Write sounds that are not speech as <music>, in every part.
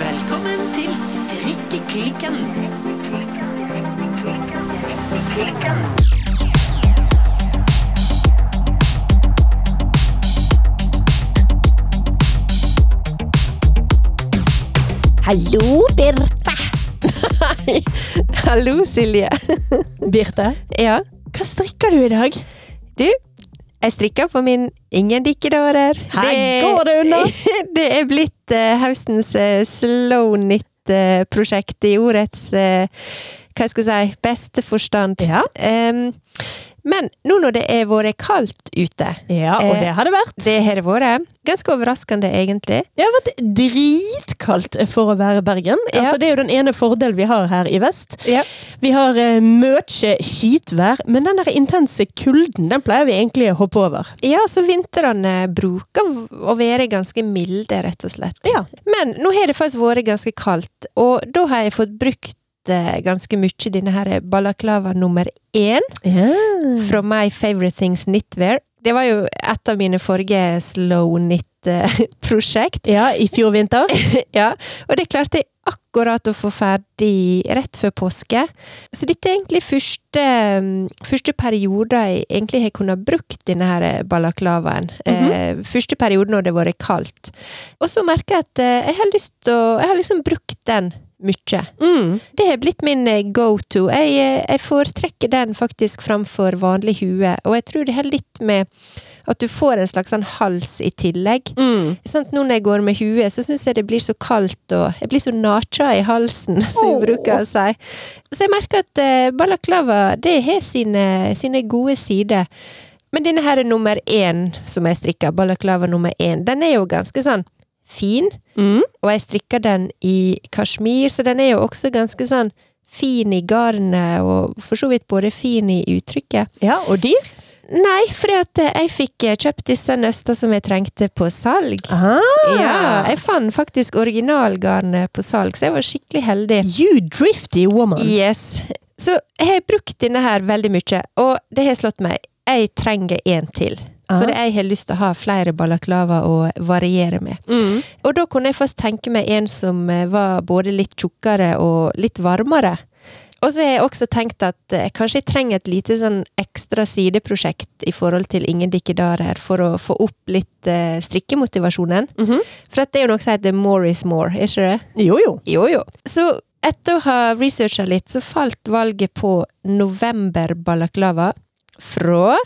Velkommen til Strikkeklikken. Hallo, Birte. Hallo, Silje. Birte, Ja, hva strikker du i dag? du. Jeg strikker på min ingen dikkedårer. Her går det unna. <laughs> Det er blitt eh, høstens eh, slow knit-prosjekt i ordets eh, hva skal jeg si, beste forstand. Ja. Em, men nå når det har vært kaldt ute, Ja, og Eh, det har det vært. det har det vært, ganske overraskende egentlig, Det har vært dritkaldt for å være Bergen. Ja. Altså, det er jo den ene fordelen vi har her i vest. Ja. Vi har uh, mye skitvær, men den der intense kulden den pleier vi egentlig å hoppe over. Ja, så vintrene bruker å være ganske milde, rett og slett. Ja. Men nå har det faktisk vært ganske kaldt, og da har jeg fått brukt eh, ganske mye denne her balaklava nummer én fra My Favorite Things Knitwear. Det var jo et av mine forrige slow eh, <laughs> knit-prosjekt. Ja, i fjor vinter. ja, og det klarte jeg akkurat å få ferdig rett før påske. Så dette er egentlig første, mm, første periode jeg egentlig har kunnet brukt denne her balaklavaen. eh, første periode når det har vært kaldt. Og så merker jeg at eh, jeg har lyst til å Jeg har liksom brukt den mye. Mm. Det har blitt min eh, go-to. Jeg, eh, jeg foretrekker den faktisk framfor vanlig hue, og jeg tror det har litt med at du får en slags sånn hals i tillegg. Mm. Sant? Nå når jeg går med hue, så syns jeg det blir så kaldt, og jeg blir så nacha i halsen, <laughs> som jeg Åh. bruker å si. Så jeg merker at eh, balaklava, det har sine, sine gode sider. Men denne her er nummer én som jeg strikker, balaklava nummer én, den er jo ganske sånn fin. Mm. Og jeg strikker den i kasjmir, så den er jo også ganske sånn fin i garnet, og for så vidt både fin i uttrykket. Ja, og dyr. Nei, for jeg fikk eh, kjøpt disse nøster som jeg trengte på salg. Ah. Ja, jeg fant faktisk originalgarnet på salg, så jeg var skikkelig heldig. You drifty woman. Yes. Så jeg har brukt denne her veldig mye, og det har slått meg. Jeg trenger en til. For Ah. jeg har lyst til å ha flere balaklava å variere med. Mm. Og da kunne jeg først tenke meg en som eh, var både litt tjukkere og litt varmere. Og så har jeg også tenkt at eh, kanskje jeg trenger et lite sånn ekstra sideprosjekt i forhold til Ingen dikkedarer, for å få opp litt eh, strikkemotivasjonen. Mhm. For at det er jo noe som heter more is more, er ikke det? Jo, jo. Jo, jo. Så etter å ha researcha litt, så falt valget på November Balaklava fra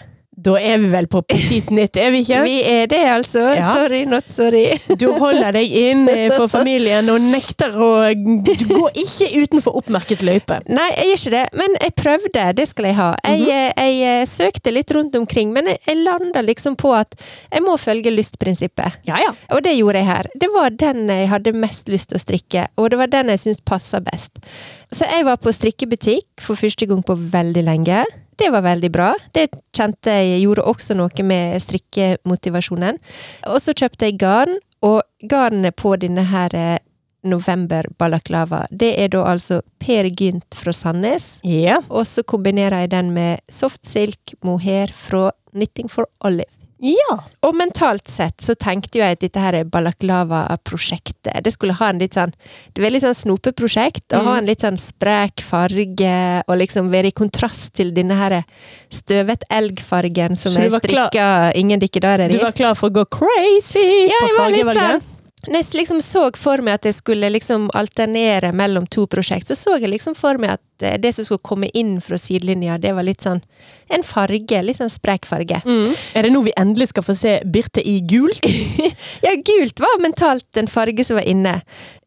Da er vi vel på Petit Nytt, er vi ikke? Vi er det, altså. Ja. Sorry, not sorry. Du holder deg inn eh, for familien og nekter å Du går ikke utenfor oppmerket løype. Nei, jeg gjør ikke det, men jeg prøvde. Det skal jeg ha. Jeg, eh, jeg, eh, søkte litt rundt omkring, men jeg, jeg landa liksom på at jeg må følge lystprinsippet. Ja, ja. Og det gjorde jeg her. Det var den jeg hadde mest lyst til å strikke, og det var den jeg syntes passa best. Så jeg var på strikkebutikk for første gang på veldig lenge. Det var veldig bra. Det kjente jeg gjorde også noe med strikkemotivasjonen. Og så kjøpte jeg garn, og garnet på denne her eh, November Balaklava, det er da altså Per Gynt fra Sandnes. Ja. Og så kombinerer jeg den med soft silk mohair fra Knitting for Olive. ja. Og mentalt sett så tenkte jo jeg at dette her er balaklava-prosjektet. Det skulle ha en litt sånn Det var litt sånn snopeprosjekt. Å Mm. ha en litt sånn sprek farge, og liksom være i kontrast til denne her støvet elgfargen som Så du jeg var klar- strikka ingen dikkedarer Du i. var klar for å gå crazy Ja, på jeg var litt sånn fargevalget? Når jeg liksom så for meg at jeg skulle liksom alternere mellom to prosjekt, så så jeg liksom for meg at eh, det som skulle komme inn fra sidelinja, det var litt sånn en farge, litt sånn sprek farge. Mm. Er det nå vi endelig skal få se Birte i <laughs> gult? Ja, gult var mentalt en farge som var inne,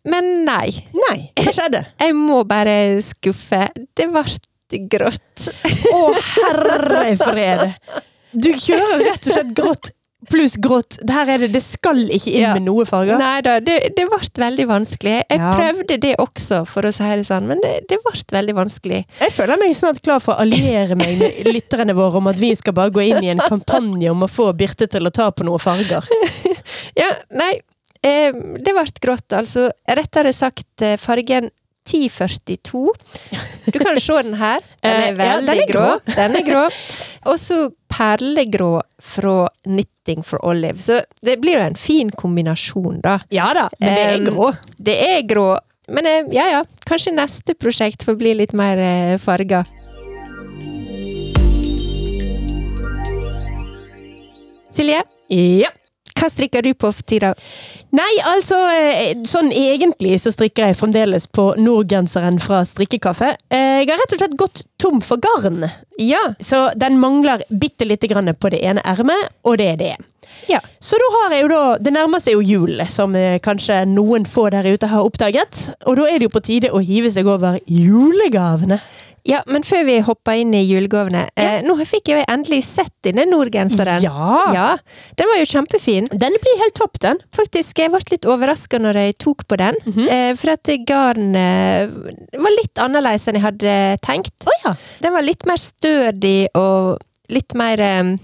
men nei. Nei, hva skjedde? Jeg må bare skuffe. Det ble grått. Å, herre fred! Du kjører rett og slett grått pluss grått. Det her er det, det skal ikke inn Ja. med noe farger. <laughs> Nei da, det, det ble veldig vanskelig. Jeg Ja. prøvde det også, for å si det sånn, men det, det ble veldig vanskelig. Jeg føler meg snart klar for å alliere meg med lytterne våre om at vi skal bare gå inn i en kampanje om å få Birte til å ta på noen farger. Ja, nei, eh, det ble grått, altså. Rettere sagt eh, fargen 1042. Du kan se den her. Den Eh, er ja, veldig den er grå. grå. Den er grå. Og så perlegrå fra Setting for Olive. Så det blir jo en fin kombinasjon, da. Ja da, men det er Em, grå. Det er grå, men eh, ja ja, kanskje neste prosjekt får bli litt mer eh, farga. Silje, Ja. hva strikker du på for tida? Nei, altså eh, Sånn egentlig så strikker jeg fremdeles på nordgenseren fra strikkekaffe. Eh, Jeg har rett og slett gått tom for garn, Ja. så den mangler bitte lite grann på det ene ermet, og det er det. Ja. Så da har jeg jo da Det nærmer seg jo jul, som eh, kanskje noen få der ute har oppdaget. Og da er det jo på tide å hive seg over julegavene. ja, men før vi hopper inn i julegavene eh, Nå fikk jeg jo endelig sett denne nordgenseren. Ja! ja. Den var jo kjempefin. Den blir helt topp, den. Faktisk, jeg ble litt overraska når jeg tok på den. Mhm. eh, for at garnet eh, var litt annerledes enn jeg hadde tenkt. Å ja. Den var litt mer stødig og litt mer eh,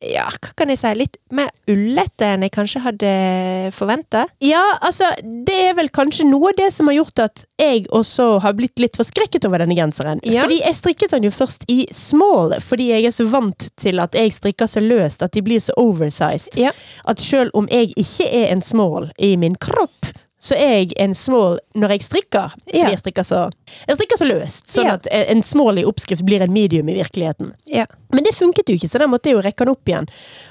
Ja, hva kan jeg si? Litt mer ullete enn jeg kanskje hadde forventa. Ja, altså, det er vel kanskje noe av det som har gjort at jeg også har blitt litt forskrekket over denne genseren. Ja. Fordi jeg strikket den jo først i small, fordi jeg er så vant til at jeg strikker så løst at de blir så oversized. Ja. At selv om jeg ikke er en small i min kropp, så er jeg en small når jeg strikker. Fordi Ja. jeg, strikker så, jeg strikker så løst, sånn Ja. at en small i oppskrift blir en medium i virkeligheten. Ja. Men det funket jo ikke, så den måtte jeg jo rekke den opp igjen.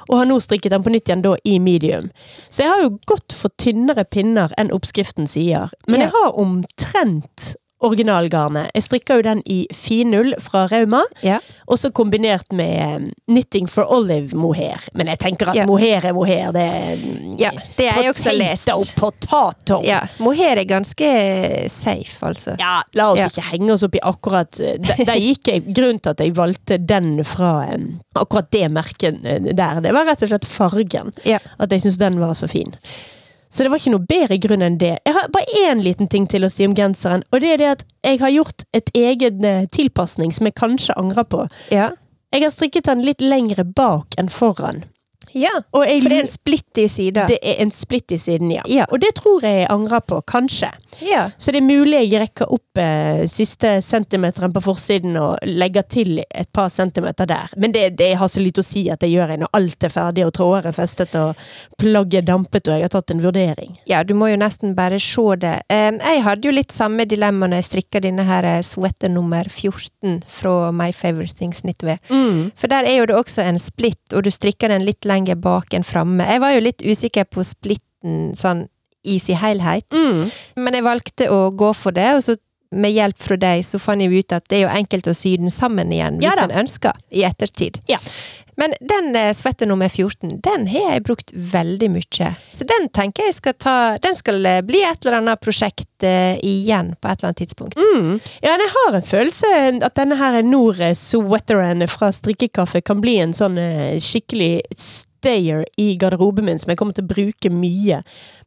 Og har nå strikket den på nytt igjen da i medium. Så jeg har jo gått for tynnere pinner enn oppskriften sier. Men Ja. jeg har omtrent originalgarnet. Jeg strikker jo den i finull fra Rauma, ja. og så kombinert med eh, Knitting for Olive mohair. Men jeg tenker at Ja. mohair er mohair, det er ja. Det har jeg også lest. Potato, potato! Ja. Mohair er ganske safe, altså. Ja, la oss Ja. ikke henge oss opp i akkurat eh, Der, der gikk jeg, grunnen til at jeg valgte den fra eh, akkurat det merket eh, der, det var rett og slett fargen. Ja. At jeg syntes den var så fin. Så det var ikke noe bedre grunn enn det. Jeg har bare én liten ting til å si om genseren, og det er det at jeg har gjort et egen eh, tilpasning som jeg kanskje angrer på. ja. Jeg har strikket den litt lengre bak enn foran. ja. Og jeg, For det er en splitt i sida. det er en splitt i siden, ja. Ja. Og det tror jeg jeg angrer på, kanskje. Ja. Så det er mulig jeg rekker opp eh, siste centimeteren på forsiden og legger til et par centimeter der. Men det, det har så lite å si at det gjør jeg når alt er ferdig og tråder er festet og plagget er dampet og jeg har tatt en vurdering. ja, du må jo nesten bare se det. Em, jeg hadde jo litt samme dilemma når jeg strikka denne her eh, sweater nummer 14 fra My Favorite Things Knitwear. For der er jo det også en splitt, og du strikker den litt lenger bak enn framme. Jeg var jo litt usikker på splitten sånn i sin helhet, Mm. men jeg valgte å gå for det, og så med hjelp fra deg så fant jeg jo ut at det er jo enkelt å sy den sammen igjen hvis Ja da. en ønsker, i ettertid. Ja. Men den eh, svette nummer 14, den har jeg brukt veldig mye. Så den tenker jeg skal ta Den skal eh, bli et eller annet prosjekt eh, igjen på et eller annet tidspunkt. Ja, men jeg har en følelse at denne her nord-sweateren fra strikkekaffe kan bli en sånn eh, skikkelig stayer i garderoben min som jeg kommer til å bruke mye.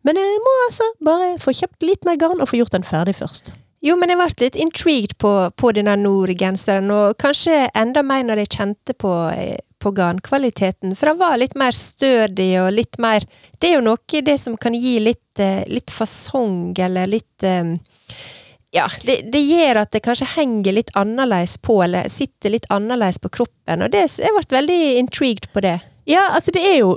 Men jeg må altså bare få kjøpt litt mer garn og få gjort den ferdig først. Jo, men jeg ble litt intrigued på, på denne nordgenseren, og kanskje enda mer når jeg kjente på, eh, på garnkvaliteten, for den var litt mer stødig og litt mer Det er jo noe i det som kan gi litt, eh, litt fasong, eller litt eh, ja, det, det gjør at det kanskje henger litt annerledes på, eller sitter litt annerledes på kroppen, og det, jeg ble veldig intrigued på det. Ja, altså det er jo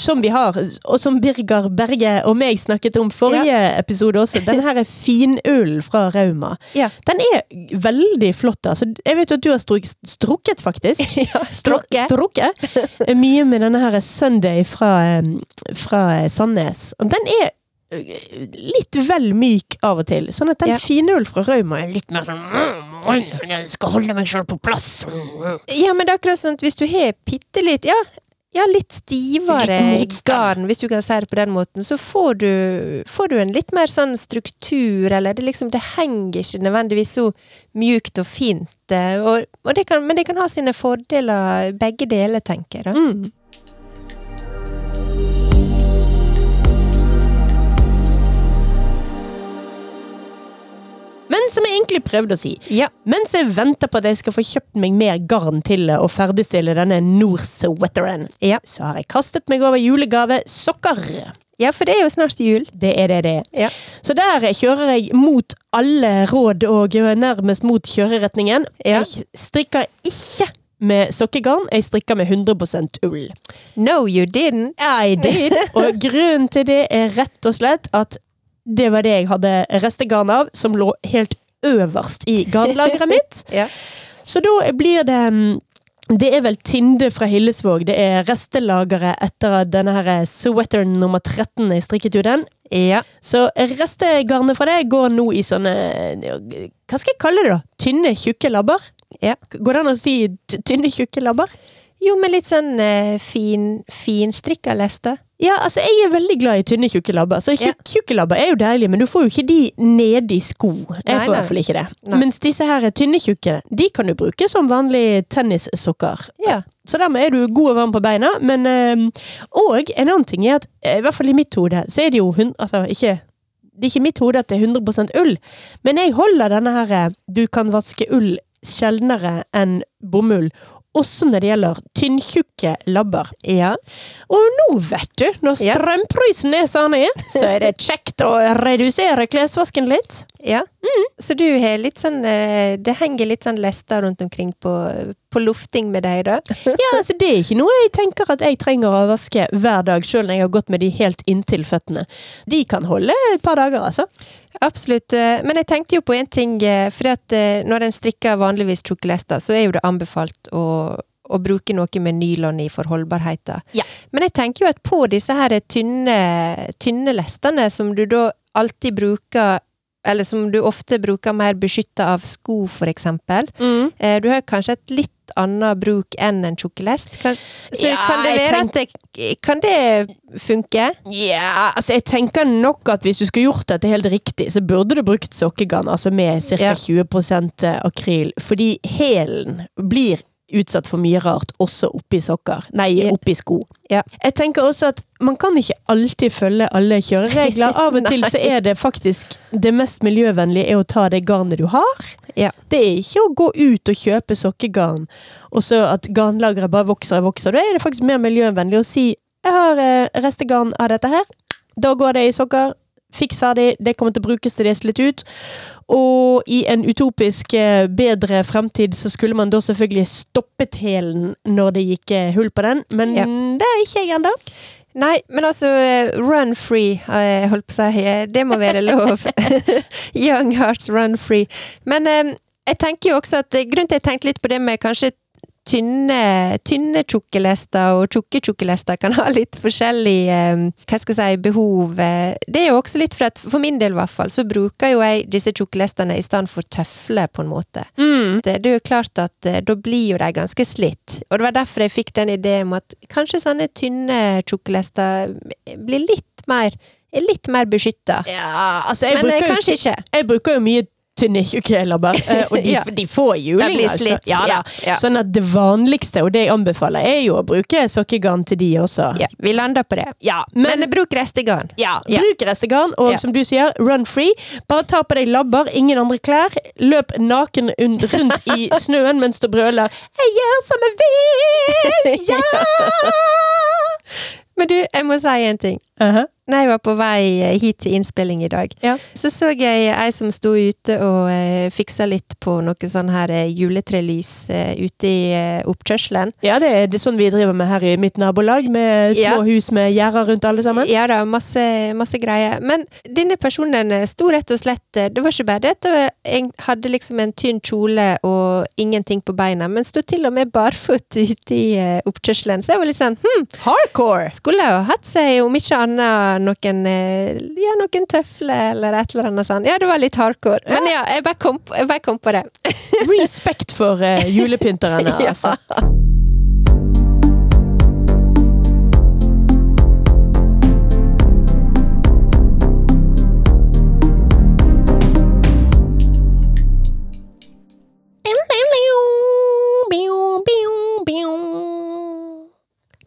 som vi har, og som Birger Berge og meg snakket om forrige episode også, den her er finullen fra Rauma. Ja. Den er veldig flott. Altså. Jeg vet jo at du har struk strukket, faktisk. <laughs> Ja, Stru- Strukket. Mye med denne her Sunday fra, eh, fra Sandnes. Og den er eh, litt vel myk av og til. Sånn at den Ja. finullen fra Rauma er litt mer sånn Mm, Jeg skal holde meg selv på plass. Mm. Ja, men det er akkurat sånn at hvis du har bitte litt ja, ja, litt stivere Litt motstand. garn, hvis du kan si det på den måten, så får du, får du en litt mer sånn struktur, eller det liksom Det henger ikke nødvendigvis så mjukt og fint. eh, Og, og det kan, men det kan ha sine fordeler, begge deler, tenker jeg. da. mm. Men som jeg egentlig prøvde å si, Ja. mens jeg venter på at jeg skal få kjøpt meg mer garn til å ferdigstille denne Norse-wetteren, Ja. så har jeg kastet meg over julegavesokker. ja, for det er jo snart jul. Det er det det er. Ja. Så der kjører jeg mot alle råd og nærmest mot kjøreretningen. Ja. Jeg strikker ikke med sokkegarn. Jeg strikka med 100 ull. No, you didn't. I did. Og grunnen til det er rett og slett at det var det jeg hadde restegarn av, som lå helt øverst i garnlageret mitt. <laughs> Ja. Så da blir det mm, det er vel Tinde fra Hillesvåg. Det er restelageret etter at denne her sweateren nummer 13 jeg strikket ut den. Ja. Så restegarnet fra det går nå i sånne Hva skal jeg kalle det, da? Tynne, tjukke labber? Ja. Går det an å si t- tynne, tjukke labber? Jo, men litt sånn eh, fin, finstrikka leste. Ja, altså Jeg er veldig glad i tynne, tjukke labber. Så Ja. tjukk, Tjukke labber er jo deilige, men du får jo ikke de nedi sko. Jeg Nei, får i nei. hvert fall ikke det. Nei. Mens disse her tynne, tjukke de kan du bruke som vanlige tennissokker. Ja. Så dermed er du god og varm på beina. Men, eh, og en annen ting er at, eh, i hvert fall i mitt hode, så er det jo hun- altså, ikke, Det er ikke mitt hode at det er 100 ull, men jeg holder denne her eh, du kan vaske ull sjeldnere enn bomull. Også når det gjelder tynntjukke labber. Ja. Og nå, vet du, når Ja. strømprisen er som den er, så er det kjekt å redusere klesvasken litt. ja. Så du har litt sånn eh, Det henger litt sånn lester rundt omkring på, på lufting med deg, da? Ja, altså Det er ikke noe jeg tenker at jeg trenger å vaske hver dag, selv når jeg har gått med de helt inntil føttene. De kan holde et par dager, altså. Absolutt. eh, Men jeg tenkte jo på en ting, eh, for når en strikker vanligvis tjukke lester, så er jo det anbefalt å, å bruke noe med nylon i for holdbarheten. Ja. Men jeg tenker jo at på disse her tynne, tynne lestene, som du da alltid bruker eller som du ofte bruker mer beskytta av sko, for eksempel. Eh, Du har kanskje et litt annet bruk enn en tjukk lest. Kan, så Ja, kan det jeg være at det Kan det funke? Ja, altså jeg tenker nok at hvis du skulle gjort dette helt riktig, så burde du brukt sokkegarn, altså med ca. Ja. 20 eh, akryl, fordi hælen blir utsatt for mye rart, også oppi sokker. Nei, Ja. oppi sko. Ja. Jeg tenker også at man kan ikke alltid følge alle <laughs> kjøreregler. Av og til så er det faktisk det mest miljøvennlige er å ta det garnet du har. Ja. Det er ikke å gå ut og kjøpe sokkegarn, og så at garnlageret bare vokser og vokser. Da er det faktisk mer miljøvennlig å si jeg har eh, restegarn av dette her. Da går det i sokker. Fiks ferdig. Det kommer til å brukes til det er slitt ut. Og i en utopisk eh, bedre fremtid så skulle man da selvfølgelig stoppet hælen når det gikk eh, hull på den, men Ja. det er ikke jeg ennå. Nei, men altså eh, run free, har jeg holdt på å si. Eh, Det må være lov. Young hearts run free. Men eh, jeg tenker jo også at eh, grunnen til at jeg tenkte litt på det med kanskje tynne, tynne tjukke lester og tjukke tjukke lester kan ha litt forskjellig eh, hva skal jeg si, behov. eh. Det er jo også litt for at, for min del i hvert fall, så bruker jo jeg disse tjukke lestene i stedet for tøfler, på en måte. Det, det er jo klart at eh, da blir jo de ganske slitt. Og det var derfor jeg fikk den ideen om at kanskje sånne tynne tjukkelester blir litt mer er litt mer beskytta. Ja, altså jeg Men eh, bruker, jo, kanskje ikke. jeg bruker jo mye tynne tjukkelaber, og <laughs> de, Ja. de får juling, De blir slitt, altså. Ja, da. ja, ja. Sånn at det vanligste, og det jeg anbefaler, er jo å bruke sokkegarn til de også. Ja, vi lander på det. Ja, Men, eh, men bruk restegarn. ja, Ja. bruk restegarn, og Ja. som du sier, run free. Bare ta på deg labber, ingen andre klær. Løp naken un- rundt <laughs> i snøen mens du brøler 'Jeg gjør som jeg vil', <laughs> ja! Men du, jeg må si en ting. Aha. Når jeg var på vei eh, hit til innspilling i dag, Ja. så så jeg ei som sto ute og eh, fiksa litt på noe sånn her eh, juletrelys eh, ute i eh, oppkjørselen. ja, det er, det er sånn vi driver med her i mitt nabolag, med små Ja. hus med gjerder rundt alle sammen. Ja da, masse, masse greier. Men denne personen eh, sto rett og slett eh, Det var ikke bare det at eh, jeg hadde liksom en tynn kjole og ingenting på beina, men sto til og med barfot ute i eh, oppkjørselen. Så jeg var litt sånn hm, Hardcore! skulle jo hatt seg, om ikke annet, noen, eh, ja, noen tøfler eller et eller annet sånt. Ja, det var litt hardcore. Men ja, jeg bare kom, på- jeg bare kom på det. Respekt for eh, julepynterne, <laughs> Ja. altså.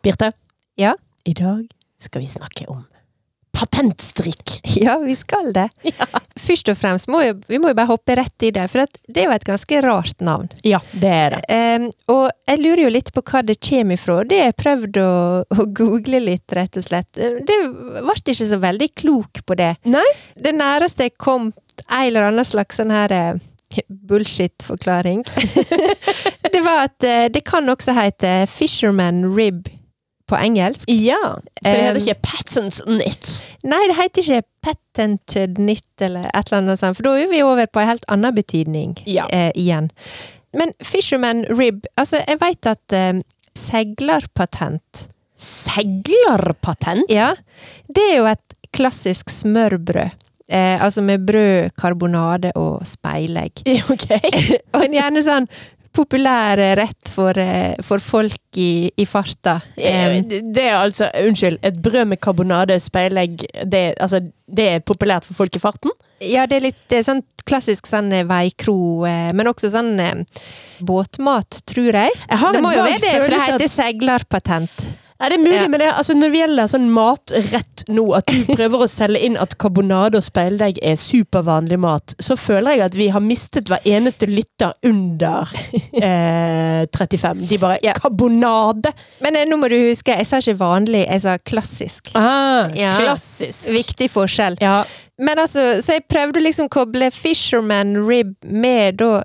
Birte, Ja. i dag skal vi snakke om patentstrikk. Ja, vi skal det. Først og fremst må jo, vi må jo bare hoppe rett i det, for at det er jo et ganske rart navn. Ja, det er det. Ehm, og jeg lurer jo litt på hva det kommer ifra. Det har jeg prøvd å, å google litt, rett og slett. Ehm, Det ble ikke så veldig klok på det. Nei? Det næreste jeg kom et eller annet slags sånn her eh, Bullshit-forklaring. <laughs> det var at eh, det kan også hete Fisherman rib på engelsk. Ja. Så det heter Um, ikke patents knit. Nei, det heter ikke patented knit eller et eller annet sånt, for da er vi over på en helt annen betydning Ja. eh, igjen. Men Fisherman rib Altså, jeg veit at eh, seglerpatent Seglerpatent? Ja, det er jo et klassisk smørbrød. Eh, altså med brød, karbonade og speilegg. Ok. <laughs> Og en gjerne sånn populær eh, rett for, eh, for folk i, i farta. Eh, Det er altså, unnskyld, et brød med karbonade, speilegg, det, altså, det er populært for folk i farten? ja, det er litt det er sånn klassisk sånn eh, veikro, eh, men også sånn eh, båtmat, tror jeg. Jeg har Det en må jo vag være det, for det følelse at- heter seglerpatent. Er det mulig, Ja. men det, altså, når det gjelder sånn matrett nå, at du prøver å selge inn at karbonade og speilegg er supervanlig mat, så føler jeg at vi har mistet hver eneste lytter under eh, 35. De bare Ja. Karbonade! Men eh, nå må du huske, jeg sa ikke vanlig, jeg sa klassisk. Ah, Ja. Klassisk. <laughs> Viktig forskjell. Ja. Men altså, så jeg prøvde å liksom koble Fisherman Rib med da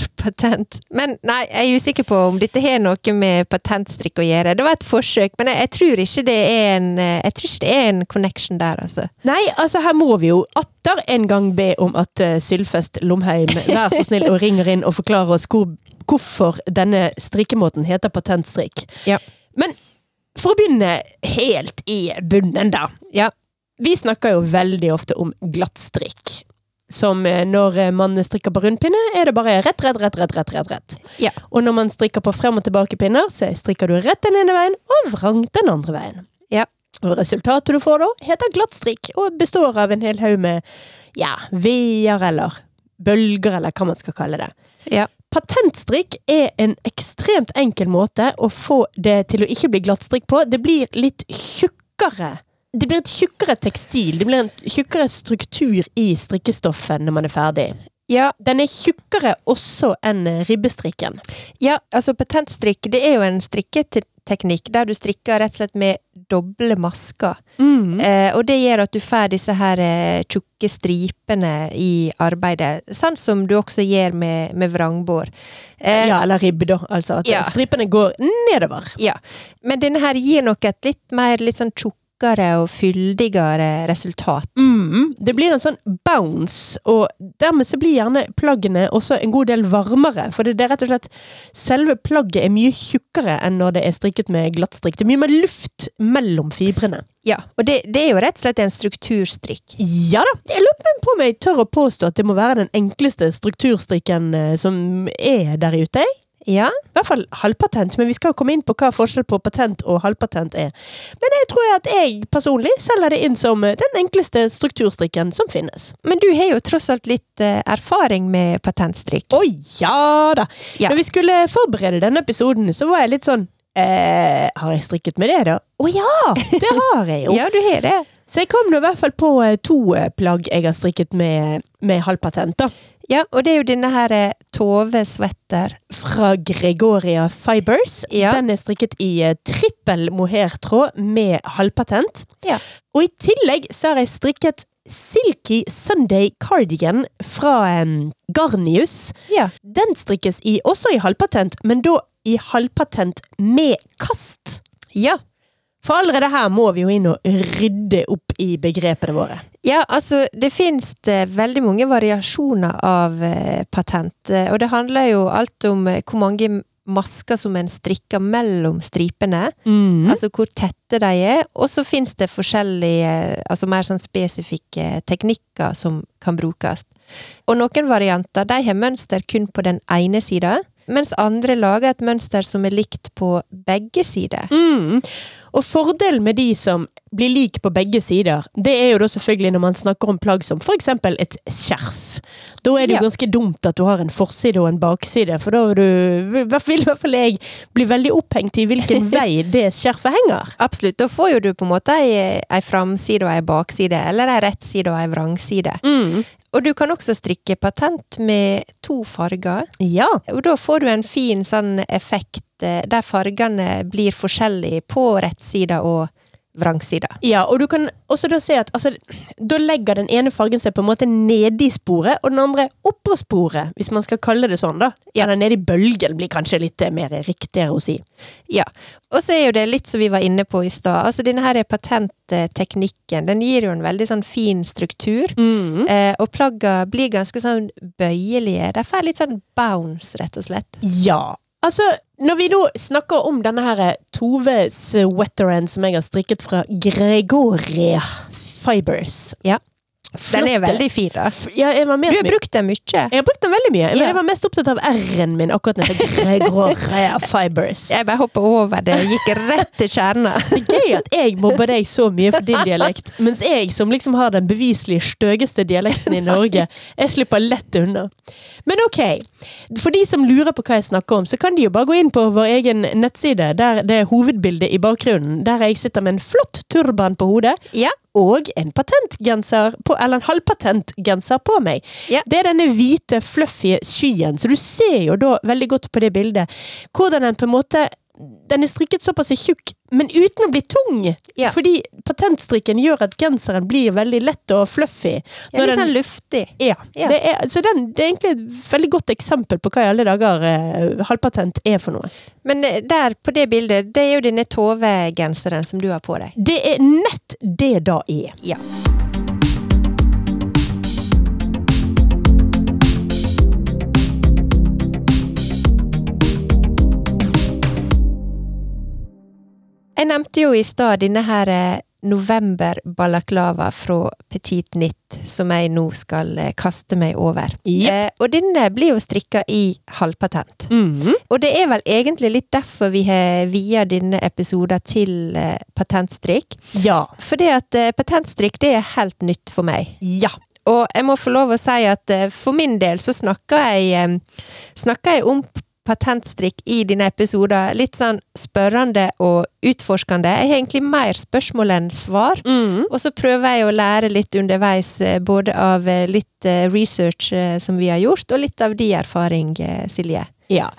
seglerpatent. Men nei, jeg er usikker på om dette har noe med patentstrikk å gjøre. Det var et forsøk, men jeg, jeg tror ikke det er en eh, Jeg tror ikke det er en connection der, altså. Nei, altså her må vi jo atter en gang be om at eh, Sylfest Lomheim vær så snill og ringer inn og forklarer oss hvor, hvorfor denne strikkemåten heter patentstrikk. Ja. Men for å begynne helt i bunnen, da. Ja. Vi snakker jo veldig ofte om glattstrikk. Som eh, når eh, man strikker på rundpinne, er det bare rett, rett, rett, rett, rett, rett, rett. Ja. Og når man strikker på frem og tilbake pinner, så strikker du rett den ene veien og vrangt den andre veien. Ja. Og resultatet du får da, heter glattstrikk og består av en hel haug med ja, veer eller bølger, eller hva man skal kalle det. Ja. Patentstrikk er en ekstremt enkel måte å få det til å ikke bli glattstrikk på. Det blir litt tjukkere. Det blir et tjukkere tekstil. Det blir en tjukkere struktur i strikkestoffet når man er ferdig. Ja, Den er tjukkere også enn eh, ribbestrikken. ja, altså patentstrikk, det er jo en strikketeknikk der du strikker rett og slett med doble masker. Mm. Eh, og det gjør at du får disse her eh, tjukke stripene i arbeidet, sånn som du også gjør med, med vrangbår. Eh, Ja, eller ribbe, da. Altså at Ja. stripene går nedover. ja. Men denne her gir nok et litt mer litt sånn tjukkere og fyldigere resultat. Mm, det blir en sånn bounce, og dermed så blir gjerne plaggene også en god del varmere. For det er rett og slett selve plagget er mye tjukkere enn når det er strikket med glattstrikk. Det er mye mer luft mellom fibrene. Ja, og det, det er jo rett og slett en strukturstrikk. Ja da! Jeg lurer på om jeg tør å påstå at det må være den enkleste strukturstrikken eh, som er der ute. jeg. Ja, I hvert fall halvpatent, men vi skal jo komme inn på hva forskjell på patent og halvpatent er. Men jeg tror at jeg personlig selger det inn som eh, den enkleste strukturstrikken som finnes. men du har jo tross alt litt eh, erfaring med patentstrikk. Å ja da! Ja. Når vi skulle forberede denne episoden, så var jeg litt sånn eh, Har jeg strikket med det, da? Å ja! Det har jeg jo! <laughs> Ja, du har det. Så jeg kom nå i hvert fall på eh, to eh, plagg jeg har strikket med, med halvpatent. da. Ja, og det er jo denne her eh, Tove-svetter. Fra Gregoria Fibers. Ja. Den er strikket i eh, trippel mohairtråd med halvpatent. Ja. Og i tillegg så har jeg strikket Silky Sunday Cardigan fra em, Garnius. Ja. Den strikkes i, også i halvpatent, men da i halvpatent med kast. ja. For allerede her må vi jo inn og rydde opp i begrepene våre. Ja, altså det finnes det veldig mange variasjoner av eh, patent. eh, Og det handler jo alt om eh, hvor mange m- masker som en strikker mellom stripene. Altså hvor tette de er. Og så finnes det forskjellige, eh, altså mer sånn spesifikke teknikker som kan brukes. Og noen varianter de har mønster kun på den ene sida, mens andre lager et mønster som er likt på begge sider. Mm. Og fordelen med de som blir lik på begge sider, det er jo da selvfølgelig når man snakker om plagg som for eksempel et skjerf. Da er det jo Ja. ganske dumt at du har en forside og en bakside, for da er du, vil i hvert fall jeg bli veldig opphengt i hvilken <laughs> vei det skjerfet henger. Absolutt. Da får jo du på en måte ei, ei framside og ei bakside, eller ei rettside og ei vrangside. Mm. Og du kan også strikke patent med to farger, Ja. og da får du en fin sånn effekt eh, der fargene blir forskjellige på rettsida og vrangsida. Ja, og du kan også da se at altså, da legger den ene fargen seg på en måte nede i sporet, og den andre oppå sporet, hvis man skal kalle det sånn, da. Ja. Eller nede i bølgen blir kanskje litt eh, mer riktigere å si. Ja. Og så er jo det litt som vi var inne på i stad. Altså, denne her er patentteknikken. Den gir jo en veldig sånn fin struktur. Eh, og plagga blir ganske sånn bøyelige. De får litt sånn bounce, rett og slett. Ja. Altså, når vi nå snakker om denne her Tove sweateren som jeg har strikket fra Gregoria Fibers Ja. Den er Flotte- veldig fin, da. F- Ja, jeg var med Du så har mye- brukt den mye. Jeg har brukt den veldig mye, men Ja. jeg var mest opptatt av R-en min akkurat når jeg fikk Gregoria Fibers. Jeg bare hoppa over det. Gikk rett til kjerna. Det er gøy at jeg mobber deg så mye for din dialekt, mens jeg, som liksom har den beviselig støgeste dialekten i Norge, jeg slipper lett unna. Men ok, for de som lurer på hva jeg snakker om, så kan de jo bare gå inn på vår egen nettside, der det er hovedbildet i bakgrunnen, der jeg sitter med en flott turban på hodet, <laughs> Ja. og en patentgenser på, eller en halvpatentgenser på meg. Ja. Det er denne hvite, fluffy skyen, så du ser jo da veldig godt på det bildet hvordan den på en måte den er strikket såpass tjukk, men uten å bli tung. Ja. Fordi patentstrikken gjør at genseren blir veldig lett og fluffy. Ja, Når litt den, sånn luftig. ja. Ja. Det er, så den, det er egentlig et veldig godt eksempel på hva i alle dager eh, halvpatent er for noe. Men eh, der på det bildet, det er jo denne Tove-genseren som du har på deg. Det er nett det da er. Ja. Jeg nevnte jo i stad denne her eh, november-balaklava fra Petit Nitt, som jeg nå skal eh, kaste meg over. Yep. Eh, og denne blir jo strikka i halvpatent. Mhm. Og det er vel egentlig litt derfor vi har via denne episoden til eh, patentstrikk. Ja. Fordi at eh, patentstrikk det er helt nytt for meg. Ja. Og jeg må få lov å si at eh, for min del så snakker jeg, eh, snakker jeg om patentstrikk i dine episoder litt sånn spørrende og utforskende. Jeg har egentlig mer spørsmål enn svar. Mhm. Og så prøver jeg å lære litt underveis, eh, både av eh, litt eh, research eh, som vi har gjort, og litt av din erfaring, eh, Silje. Ja.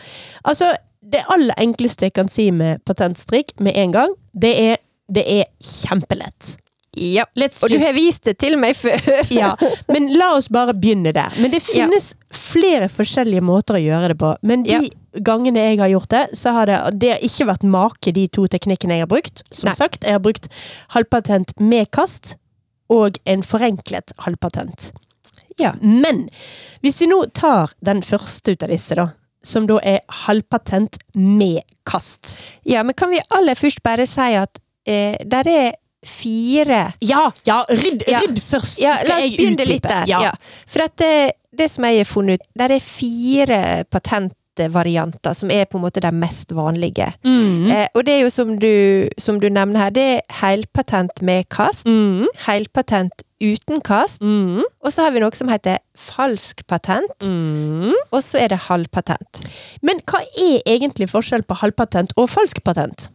Altså, det aller enkleste jeg kan si med patentstrikk med en gang, det er, det er kjempelett. Ja. Let's Og du just har vist det til meg før. <laughs> Ja, men la oss bare begynne der. Men det Ja. finnes flere forskjellige måter å gjøre det på. Men de Ja. gangene jeg har gjort det, så har det, det har ikke vært make de to teknikkene jeg har brukt. Som Nei. sagt, jeg har brukt halvpatent med kast og en forenklet halvpatent. Ja. Men hvis vi nå tar den første ut av disse, da. Som da er halvpatent med kast. <laughs> Ja, men kan vi aller først bare si at eh, der er fire Ja, ja, rydd, Ja. rydd først, Ja, så la skal oss jeg begynne utdype. litt der. Ja. Ja. For at det, det som jeg har funnet ut, der er fire patentvarianter som er på en måte de mest vanlige. Mm. Eh, og det er jo som du, som du nevner her, det er helpatent med kast, Mm. helpatent uten kast, Mm. og så har vi noe som heter falsk patent, Mm. og så er det halvpatent. Men hva er egentlig forskjell på halvpatent og falsk patent?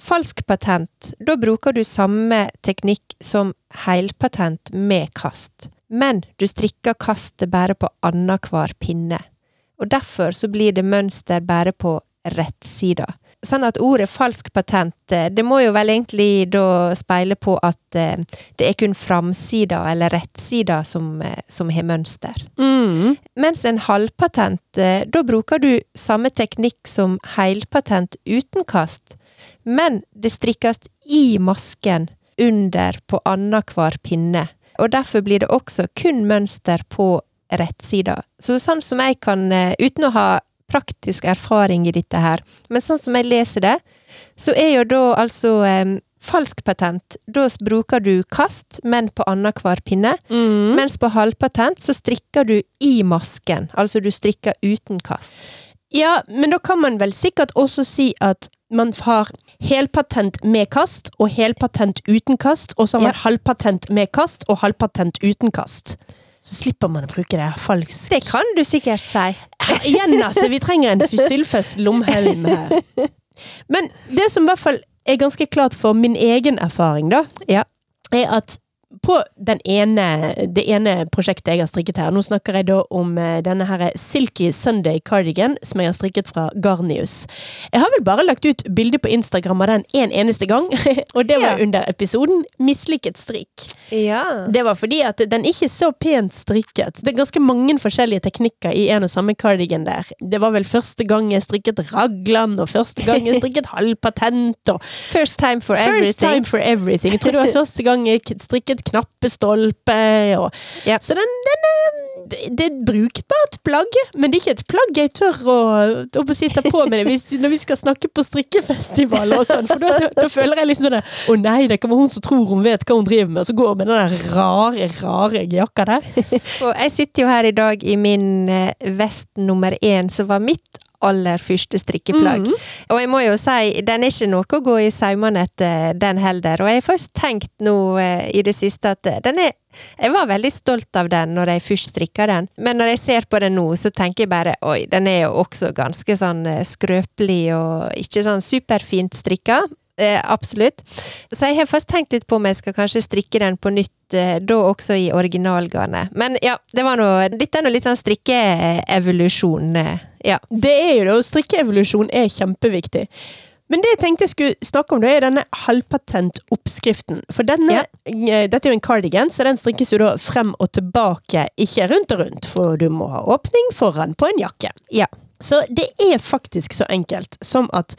Falsk patent, da bruker du samme teknikk som helpatent med kast. Men du strikker kastet bare på annenhver pinne. Og derfor så blir det mønster bare på rettsida. Sånn at ordet falsk patent, eh, det må jo vel egentlig da speile på at eh, det er kun framsida eller rettsida som, eh, som har mønster. Mm. Mens en halvpatent, eh, da bruker du samme teknikk som helpatent uten kast, men det strikkes i masken under på annenhver pinne. Og derfor blir det også kun mønster på rettsida. Så sånn som jeg kan, eh, uten å ha praktisk erfaring i dette her, men sånn som jeg leser det, så er jo da altså eh, falsk patent, da s- bruker du kast, men på annenhver pinne. Mens på halvpatent så strikker du i masken, altså du strikker uten kast. Ja, men da kan man vel sikkert også si at man har helpatent med kast og helpatent uten kast, og så har man Ja. halvpatent med kast og halvpatent uten kast. Så slipper man å bruke det falsk. Det kan du sikkert si. Igjen, altså! Vi trenger en fysylfest lomhelm her. <laughs> Men det som i hvert fall er ganske klart for min egen erfaring, da, Ja. er at på den ene, det ene prosjektet jeg har strikket her, nå snakker jeg da om eh, denne her Silky Sunday Cardigan som jeg har strikket fra Garnius. Jeg har vel bare lagt ut bilde på Instagram av den en eneste gang, <laughs> og det var Ja. under episoden 'Mislykket strikk'. Ja. Det var fordi at den ikke er så pent strikket. Det er ganske mange forskjellige teknikker i en og samme cardigan der. Det var vel første gang jeg strikket raglan, og første gang jeg strikket halvpatent, og First time for First everything. time for everything. Jeg tror det <laughs> var første gang jeg k- strikket knappestolpe. Og. Ja. Så den, den er, det- det er et brukbart plagg, men det er ikke et plagg jeg tør å, å på si ta på med det hvis, <laughs> når vi skal snakke på strikkefestivaler og sånn. For da, da, da føler jeg liksom sånn der, Å nei, det kan være hun som tror hun vet hva hun driver med, og så går hun med den der rare, rare jakka der. Og jeg sitter jo her i dag i min eh, vest nummer én, som var mitt aller første strikkeplagg. Og jeg må jo si, den er ikke noe å gå i saumene etter, eh, den heller. Og jeg har faktisk tenkt nå eh, i det siste at eh, den er Jeg var veldig stolt av den når jeg først strikka den, men når jeg ser på den nå, så tenker jeg bare oi, den er jo også ganske sånn eh, skrøpelig og ikke sånn superfint strikka. Eh, absolutt. Så jeg har først tenkt litt på om jeg skal kanskje strikke den på nytt, eh, da også i originalgarnet. Men ja, det var noe, dette er nå litt sånn strikkeevolusjon. eh, Ja. Det er jo det, og strikkeevolusjon er kjempeviktig. Men det jeg tenkte jeg skulle snakke om, det er denne halvpatent-oppskriften. For denne, Ja. eh, dette er jo en cardigan, så den strikkes jo da frem og tilbake, ikke rundt og rundt, for du må ha åpning foran på en jakke. Ja. Så det er faktisk så enkelt som at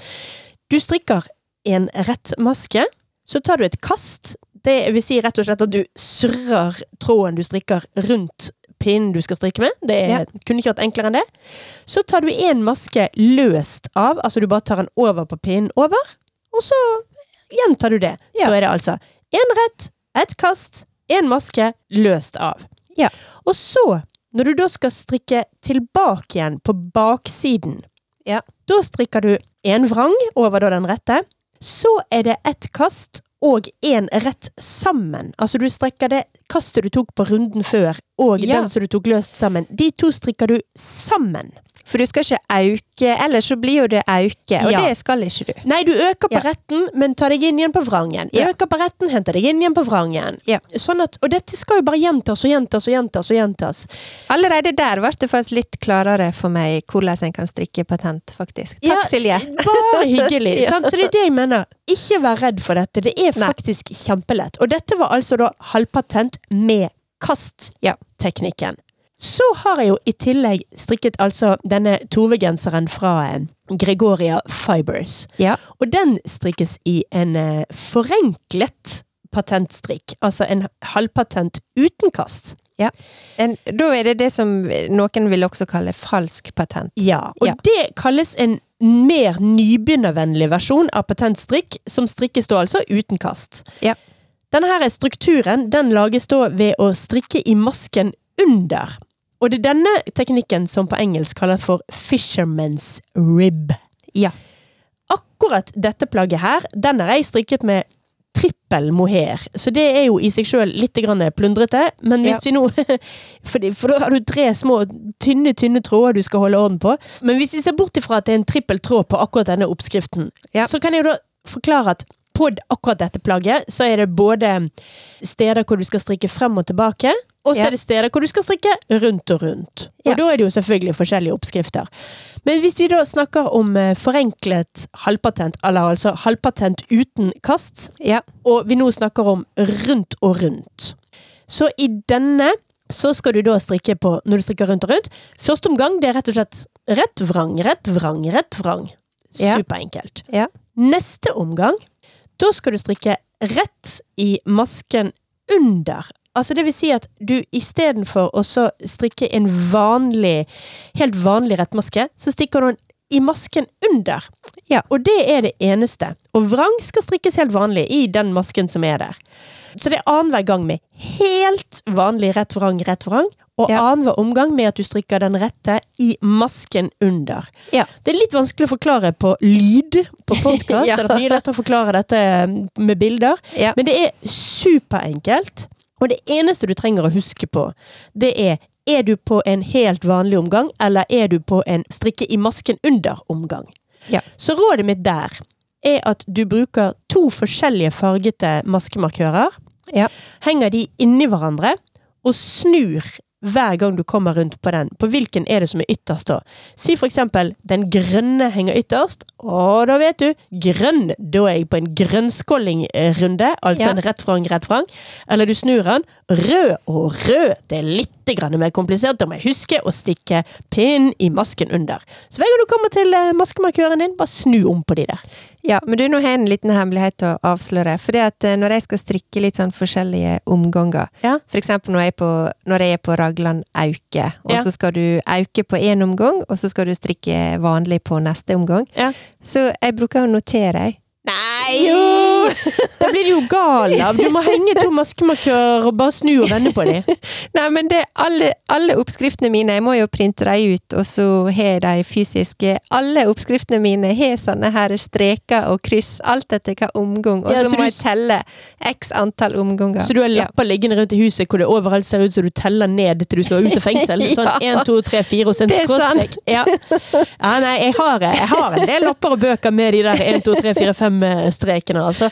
du strikker en rett maske, så tar du et kast. Det vil si rett og slett at du surrer tråden du strikker rundt pinnen du skal strikke med. Det er, Ja. kunne ikke vært enklere enn det. Så tar du en maske løst av, altså du bare tar den over på pinnen over, og så gjentar du det. Ja. Så er det altså én rett, ett kast, én maske løst av. Ja. Og så, når du da skal strikke tilbake igjen på baksiden, Ja. da strikker du en vrang over da den rette. Så er det ett kast og én rett sammen. Altså du strekker det kastet du tok på runden før, og Ja. den som du tok løst sammen. De to strikker du sammen. For du skal ikke auke, ellers så blir jo det auke, og Ja. det skal ikke du. Nei, du øker på Ja. retten, men tar deg inn igjen på vrangen. Ja. Øker på retten, henter deg inn igjen på vrangen. Ja. Sånn at, og dette skal jo bare gjentas og gjentas og gjentas. og gjentas. Allerede der ble det faktisk litt klarere for meg hvordan en kan strikke patent, faktisk. Takk, Ja, Silje. Bare hyggelig. <laughs> Ja. sant? Så det er det jeg mener. Ikke vær redd for dette. Det er Nei. faktisk kjempelett. Og dette var altså da halvpatent med Ja. kastteknikken. Så har jeg jo i tillegg strikket altså denne Tove-genseren fra eh, Gregoria Fibers. Ja. Og den strikkes i en eh, forenklet patentstrikk. Altså en halvpatent uten kast. En, da er det det som noen vil også kalle falsk patent. Ja, og Ja. det kalles en mer nybegynnervennlig versjon av patentstrikk, som strikkes da altså uten kast. Ja. Denne her strukturen den lages da ved å strikke i masken under. Og det er denne teknikken som på engelsk kalles for fisherman's rib. Ja. Akkurat dette plagget her, den har jeg strikket med trippel mohair. Så det er jo i seg sjøl litt grann plundrete, men hvis Ja. vi nå <laughs> for, for da har du tre små, tynne tynne tråder du skal holde orden på. Men hvis vi ser bort ifra at det er en trippel tråd på akkurat denne oppskriften, Ja. så kan jeg jo da forklare at på d- akkurat dette plagget så er det både steder hvor du skal strikke frem og tilbake, og så Ja. er det steder hvor du skal strikke rundt og rundt. Og Ja. da er det jo selvfølgelig forskjellige oppskrifter. Men hvis vi da snakker om eh, forenklet halvpatent, eller altså halvpatent uten kast, Ja. og vi nå snakker om rundt og rundt. Så i denne så skal du da strikke på når du strikker rundt og rundt. Første omgang det er rett og slett rett vrang, rett vrang, rett vrang. Ja. Superenkelt. Ja. Neste omgang, da skal du strikke rett i masken under. Altså det vil si at du istedenfor å så strikke en vanlig, helt vanlig rettmaske, så stikker du den i masken under. Ja. Og det er det eneste. Og vrang skal strikkes helt vanlig i den masken som er der. Så det er annenhver gang med helt vanlig rett vrang, rett vrang, og Ja. annenhver omgang med at du strikker den rette i masken under. Ja. Det er litt vanskelig å forklare på lyd <laughs> på podkast. Ja. Det er mye lettere å forklare dette med bilder. Ja. Men det er superenkelt. Og det eneste du trenger å huske på, det er er du på en helt vanlig omgang, eller er du på en strikke i masken under-omgang? Ja. Så rådet mitt der er at du bruker to forskjellige fargete maskemarkører. Ja. Henger de inni hverandre og snur hver gang du kommer rundt på den. På hvilken er det som er ytterst da? Si for eksempel den grønne henger ytterst, og da vet du, grønn, da er jeg på en grønnskåling-runde, altså Ja. en rett frang, rett frang. Eller du snur den, rød og rød, det er litt grann mer komplisert, da må jeg huske å stikke pinn i masken under. Så hver gang du kommer til eh, maskemarkøren din, bare snu om på de der. Ja, men du, nå har jeg en liten hemmelighet å avsløre. For at eh, når jeg skal strikke litt sånn forskjellige omganger, Ja. for eksempel når jeg er på, når jeg er på Ragland auke, og Ja. så skal du auke på én omgang, og så skal du strikke vanlig på neste omgang, Ja. så jeg bruker å notere. jeg. Nei! Jo! Da blir du jo gal av. Du må henge to maskemarkører og bare snu og vende på dem. Nei, men det, alle, alle oppskriftene mine, jeg må jo printe dem ut, og så har jeg de fysiske. Alle oppskriftene mine har sånne her streker og kryss, alt etter hva omgang, og Ja, så så må du- jeg telle x antall omganger. Så du har lapper liggende rundt i huset hvor det overalt ser ut som du teller ned til du skal ut av fengsel. Sånn <laughs> Ja. 1, 2, 3, 4 og så en Det er skråstrek. Ja. ja, nei, jeg har, jeg har en del lapper og bøker med de der 1, 2, 3, 4, 5-strekene, altså.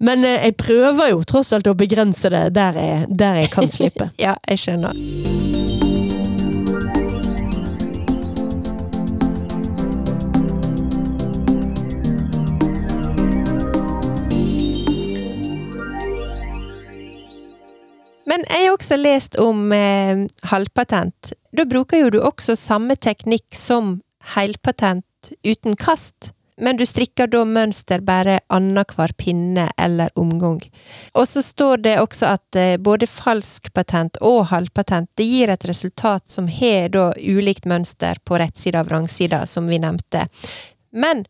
Men eh, jeg prøver jo tross alt å begrense det der jeg, der jeg kan slippe. Ja, jeg skjønner. Men jeg har også lest om eh, halvpatent. Da bruker jo du også samme teknikk som helpatent uten kast, men du strikker da mønster bare annenhver pinne eller omgang. Og så står det også at eh, både falsk patent og halvpatent det gir et resultat som har da ulikt mønster på rettsida og vrangsida, som vi nevnte. Men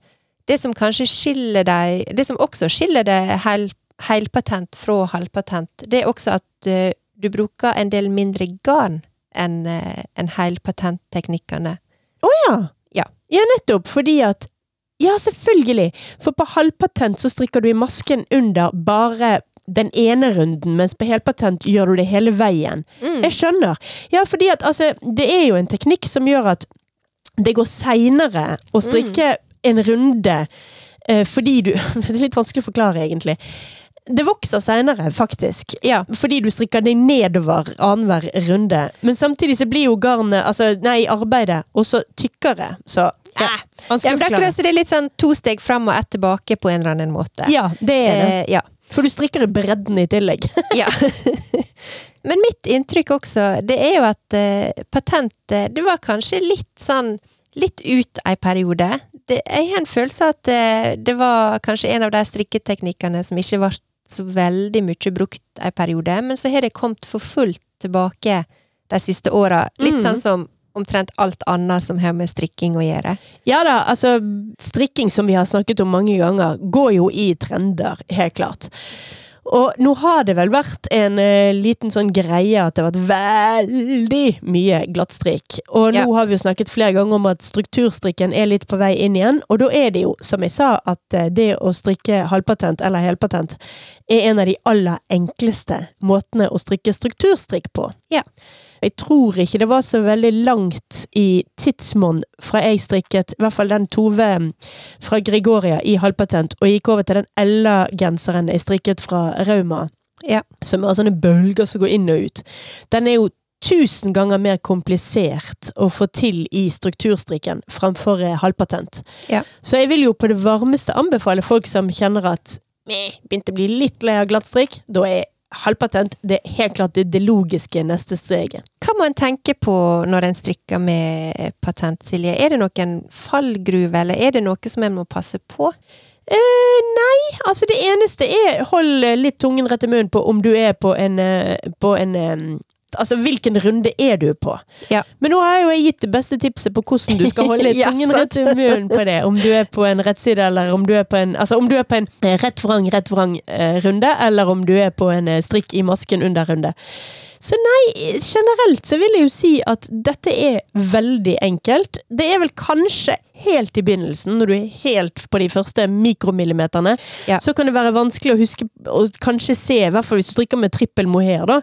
det som kanskje skiller deg, det som også skiller det hel, helpatent fra halvpatent, det er også at eh, du bruker en del mindre garn enn eh, enn helpatentteknikkene. ja. Ja. nettopp. Fordi at Ja, selvfølgelig. For på halvpatent så strikker du i masken under bare den ene runden, mens på helpatent gjør du det hele veien. Mm. Jeg skjønner. Ja, fordi at altså Det er jo en teknikk som gjør at det går seinere å Mm. strikke en runde eh, fordi du <laughs> Det er litt vanskelig å forklare, egentlig. Det vokser seinere, faktisk Ja. fordi du strikker deg nedover annenhver runde. Men samtidig så blir jo garnet, altså nei, arbeidet også tykkere. Så Ja. eh, ja, vanskelig men å det er forklare. akkurat som det er litt sånn to steg fram og ett tilbake på en eller annen måte. Ja, det er det. Eh, ja. For du strikker i bredden i tillegg. <laughs> Ja. Men mitt inntrykk også, det er jo at eh, patentet, det var kanskje litt sånn litt ut ei periode. Det, jeg har en følelse av at eh, det var kanskje en av de strikketeknikkene som ikke ble så veldig mye brukt ei periode, men så har det kommet for fullt tilbake de siste åra. Litt Mhm. sånn som omtrent alt annet som har med strikking å gjøre. Ja da, altså strikking som vi har snakket om mange ganger, går jo i trender, helt klart. Og nå har det vel vært en eh, liten sånn greie at det har vært veldig mye glattstrikk. Og nå Ja. har vi jo snakket flere ganger om at strukturstrikken er litt på vei inn igjen. Og da er det jo, som jeg sa, at eh, det å strikke halvpatent eller helpatent er en av de aller enkleste måtene å strikke strukturstrikk på. Ja. Jeg tror ikke det var så veldig langt i tidsmonn fra jeg strikket, i hvert fall den Tove mm, fra Gregoria i halvpatent, og gikk over til den Ella-genseren jeg strikket fra Rauma. Ja. Som har sånne bølger som går inn og ut. Den er jo tusen ganger mer komplisert å få til i strukturstrikken framfor eh, halvpatent. Ja. Så jeg vil jo på det varmeste anbefale folk som kjenner at «Meh, begynte å bli litt lei av glattstrikk, da er halvpatent det er helt klart det, det logiske neste steget. Hva må en tenke på når en strikker med patent, Silje? Er det noen fallgruve, eller er det noe som en må passe på? Eh, nei, altså det eneste er Hold eh, litt tungen rett i munnen på om du er på en, eh, på en eh, Altså hvilken runde er du på? Ja. Men nå har jo jeg gitt det beste tipset på hvordan du skal holde <laughs> Ja, tungen sant. rett i munnen på det. Om du er på en rettside, eller om du er på en Altså om du er på en eh, rett vrang, rett vrang eh, runde, eller om du er på en eh, strikk i masken under runde. Så nei, generelt så vil jeg jo si at dette er veldig enkelt. Det er vel kanskje helt i begynnelsen, når du er helt på de første mikromillimeterne, Ja. så kan det være vanskelig å huske, og kanskje se, i hvert fall hvis du drikker med trippel mohair, da,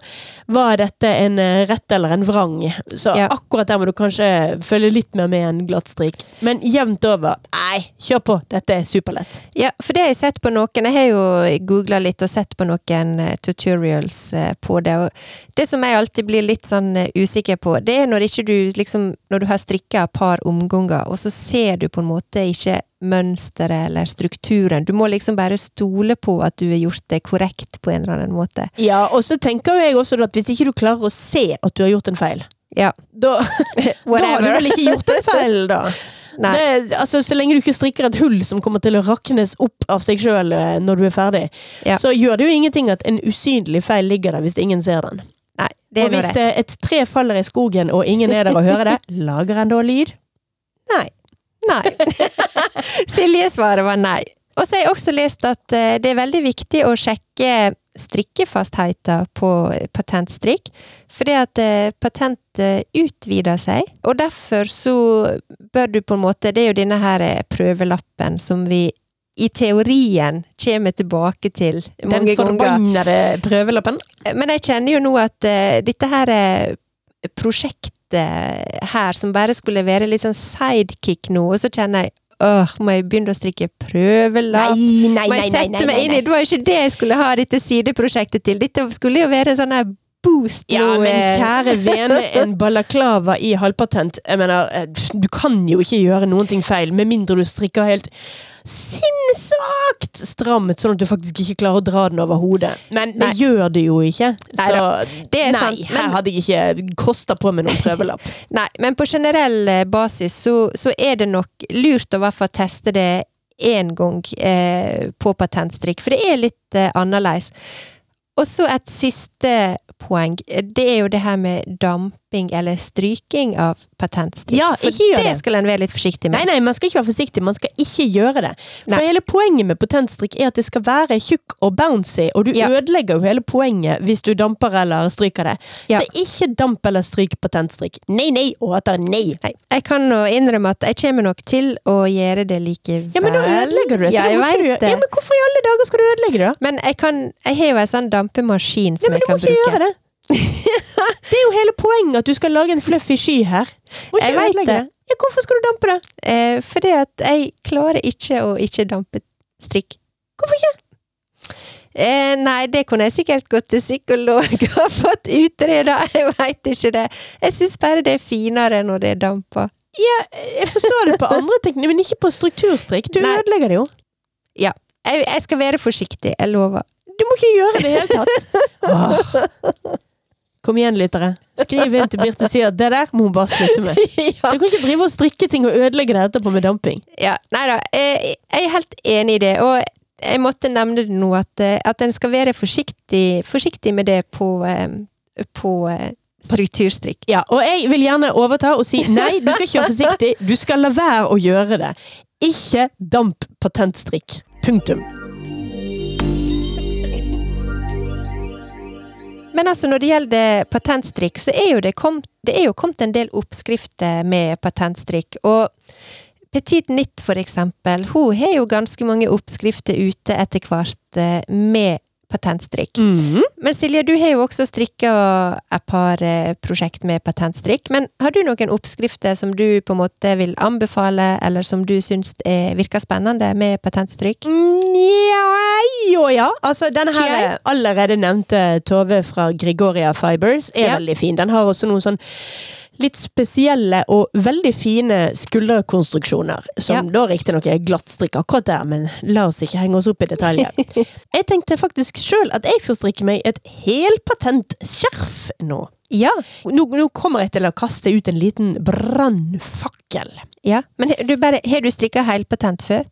var dette en eh, rett eller en vrang? Så Ja. akkurat der må du kanskje følge litt mer med en glatt strikk. Men jevnt over, nei, kjør på, dette er superlett. Ja, for det har jeg sett på noen. Jeg har jo googla litt og sett på noen eh, tutorials eh, på det. Og det som jeg alltid blir litt sånn eh, usikker på, det er når ikke du liksom Når du har strikka et par omganger, og så ser du på en måte ikke mønsteret eller strukturen. Du må liksom bare stole på at du har gjort det korrekt på en eller annen måte. Ja, og så tenker jo jeg også at hvis ikke du klarer å se at du har gjort en feil, Ja, da, da har du whatever. vel ikke gjort en feil, da? Nei. Det, altså, så lenge du ikke strikker et hull som kommer til å raknes opp av seg sjøl når du er ferdig, Ja. så gjør det jo ingenting at en usynlig feil ligger der hvis ingen ser den. Nei, det og er nå hvis rett. det, et tre faller i skogen og ingen er der og hører det, lager en da lyd? Nei. <laughs> Nei. Silje-svaret var nei. Og så har jeg også lest at eh, det er veldig viktig å sjekke strikkefastheten på patentstrikk, fordi at eh, patentet utvider seg, og derfor så bør du på en måte Det er jo denne her eh, prøvelappen som vi i teorien kommer tilbake til Den mange ganger. forbannede prøvelappen. Eh, Men jeg kjenner jo nå at eh, dette her eh, prosjektet her, som bare skulle være litt sånn sidekick nå, og så kjenner jeg Åh, må jeg begynne å strikke prøvelapp? nei, Må jeg sette meg inn i Det var jo ikke det jeg skulle ha dette sideprosjektet til. Dette skulle jo være sånn her boost Ja, nå, men eh, kjære vene, en balaklava i halvpatent Jeg mener, eh, du kan jo ikke gjøre noen ting feil, med mindre du strikker helt sinnssvakt strammet, sånn at du faktisk ikke klarer å dra den over hodet. Men det Nei. gjør det jo ikke. Så Neida, det er nei, sant, men- her hadde jeg ikke kosta på med noen prøvelapp. Nei, men på generell eh, basis så, så er det nok lurt å i hvert fall teste det én gang eh, på patentstrikk, for det er litt eh, annerledes. Og så et siste poeng. eh, Det er jo det her med damping eller stryking av patentstrikk. Ja, for ikke gjør det det. skal en være litt forsiktig Nei, med. nei, man skal ikke være forsiktig. Man skal ikke gjøre det. For Nei. hele poenget med potentstrikk er at det skal være tjukk og bouncy, og du Ja. ødelegger jo hele poenget hvis du damper eller stryker det. Ja. Så ikke damp eller stryk potentstrikk. Nei, nei, og etter nei. Nei, jeg kan nå innrømme at jeg kommer nok til å gjøre det likevel. Ja, men da ødelegger du det. så Ja, da jeg må ikke du vet gjøre- det. Ja, men hvorfor i alle dager skal du ødelegge det, da? Men jeg, kan, jeg har jo en sånn dampemaskin Ja, som men jeg du må kan ikke bruke. gjøre det. <laughs> det er jo hele poenget at du skal lage en fluffy sky her. Må ikke Jeg vet ødelegge det. det. Ja, hvorfor skal du dampe det? Eh, fordi at jeg klarer ikke å ikke dampe strikk. Hvorfor ikke? Eh, nei, det kunne jeg sikkert gått til psykolog og <laughs> fått utreda, jeg veit ikke det. Jeg syns bare det er finere når det er dampa. Jeg forstår <laughs> det på andre ting, men ikke på strukturstrikk. Du Nei. ødelegger det jo. Jeg, jeg skal være forsiktig, jeg lover. Du må ikke gjøre det i det hele tatt. Åh. Ah. Kom igjen, lyttere. Skriv inn til Birte og si at det der må hun bare slutte med. Du ja. kan ikke drive og strikke ting og ødelegge det etterpå med damping. ja. Nei da, jeg, jeg er helt enig i det. Og jeg måtte nevne det nå, at, eh, at en skal være forsiktig, forsiktig med det på, eh, på eh, strukturstrikk. Ja, Og jeg vil gjerne overta og si nei, du skal ikke være forsiktig. Du skal la være å gjøre det. Ikke damp patentstrikk. Punktum. Men altså, når det gjelder patentstrikk, så er jo det, kom, det er jo kommet en del oppskrifter med patentstrikk. Og Petit Nitt, for eksempel, hun har jo ganske mange oppskrifter ute etter hvert eh, med patentstrikk. Mhm. Men Silje, du har jo også strikka et par eh, prosjekt med patentstrikk. Men har du noen oppskrifter som du på en måte vil anbefale, eller som du syns er- virker spennende med patentstrikk? Nja, jo ja. Altså, den Tjei. her allerede nevnte Tove fra Gregoria Fibers er Ja. veldig fin. Den har også noen sånn litt spesielle og veldig fine skulderkonstruksjoner, som da riktignok er glattstrikk akkurat der, men la oss ikke henge oss opp i <laughs> detaljer. jeg tenkte faktisk sjøl at jeg skal strikke meg et helpatent skjerf nå. Ja. nå. Nå kommer jeg til å kaste ut en liten brannfakkel. ja. Men du bare, har du strikka helpatent før?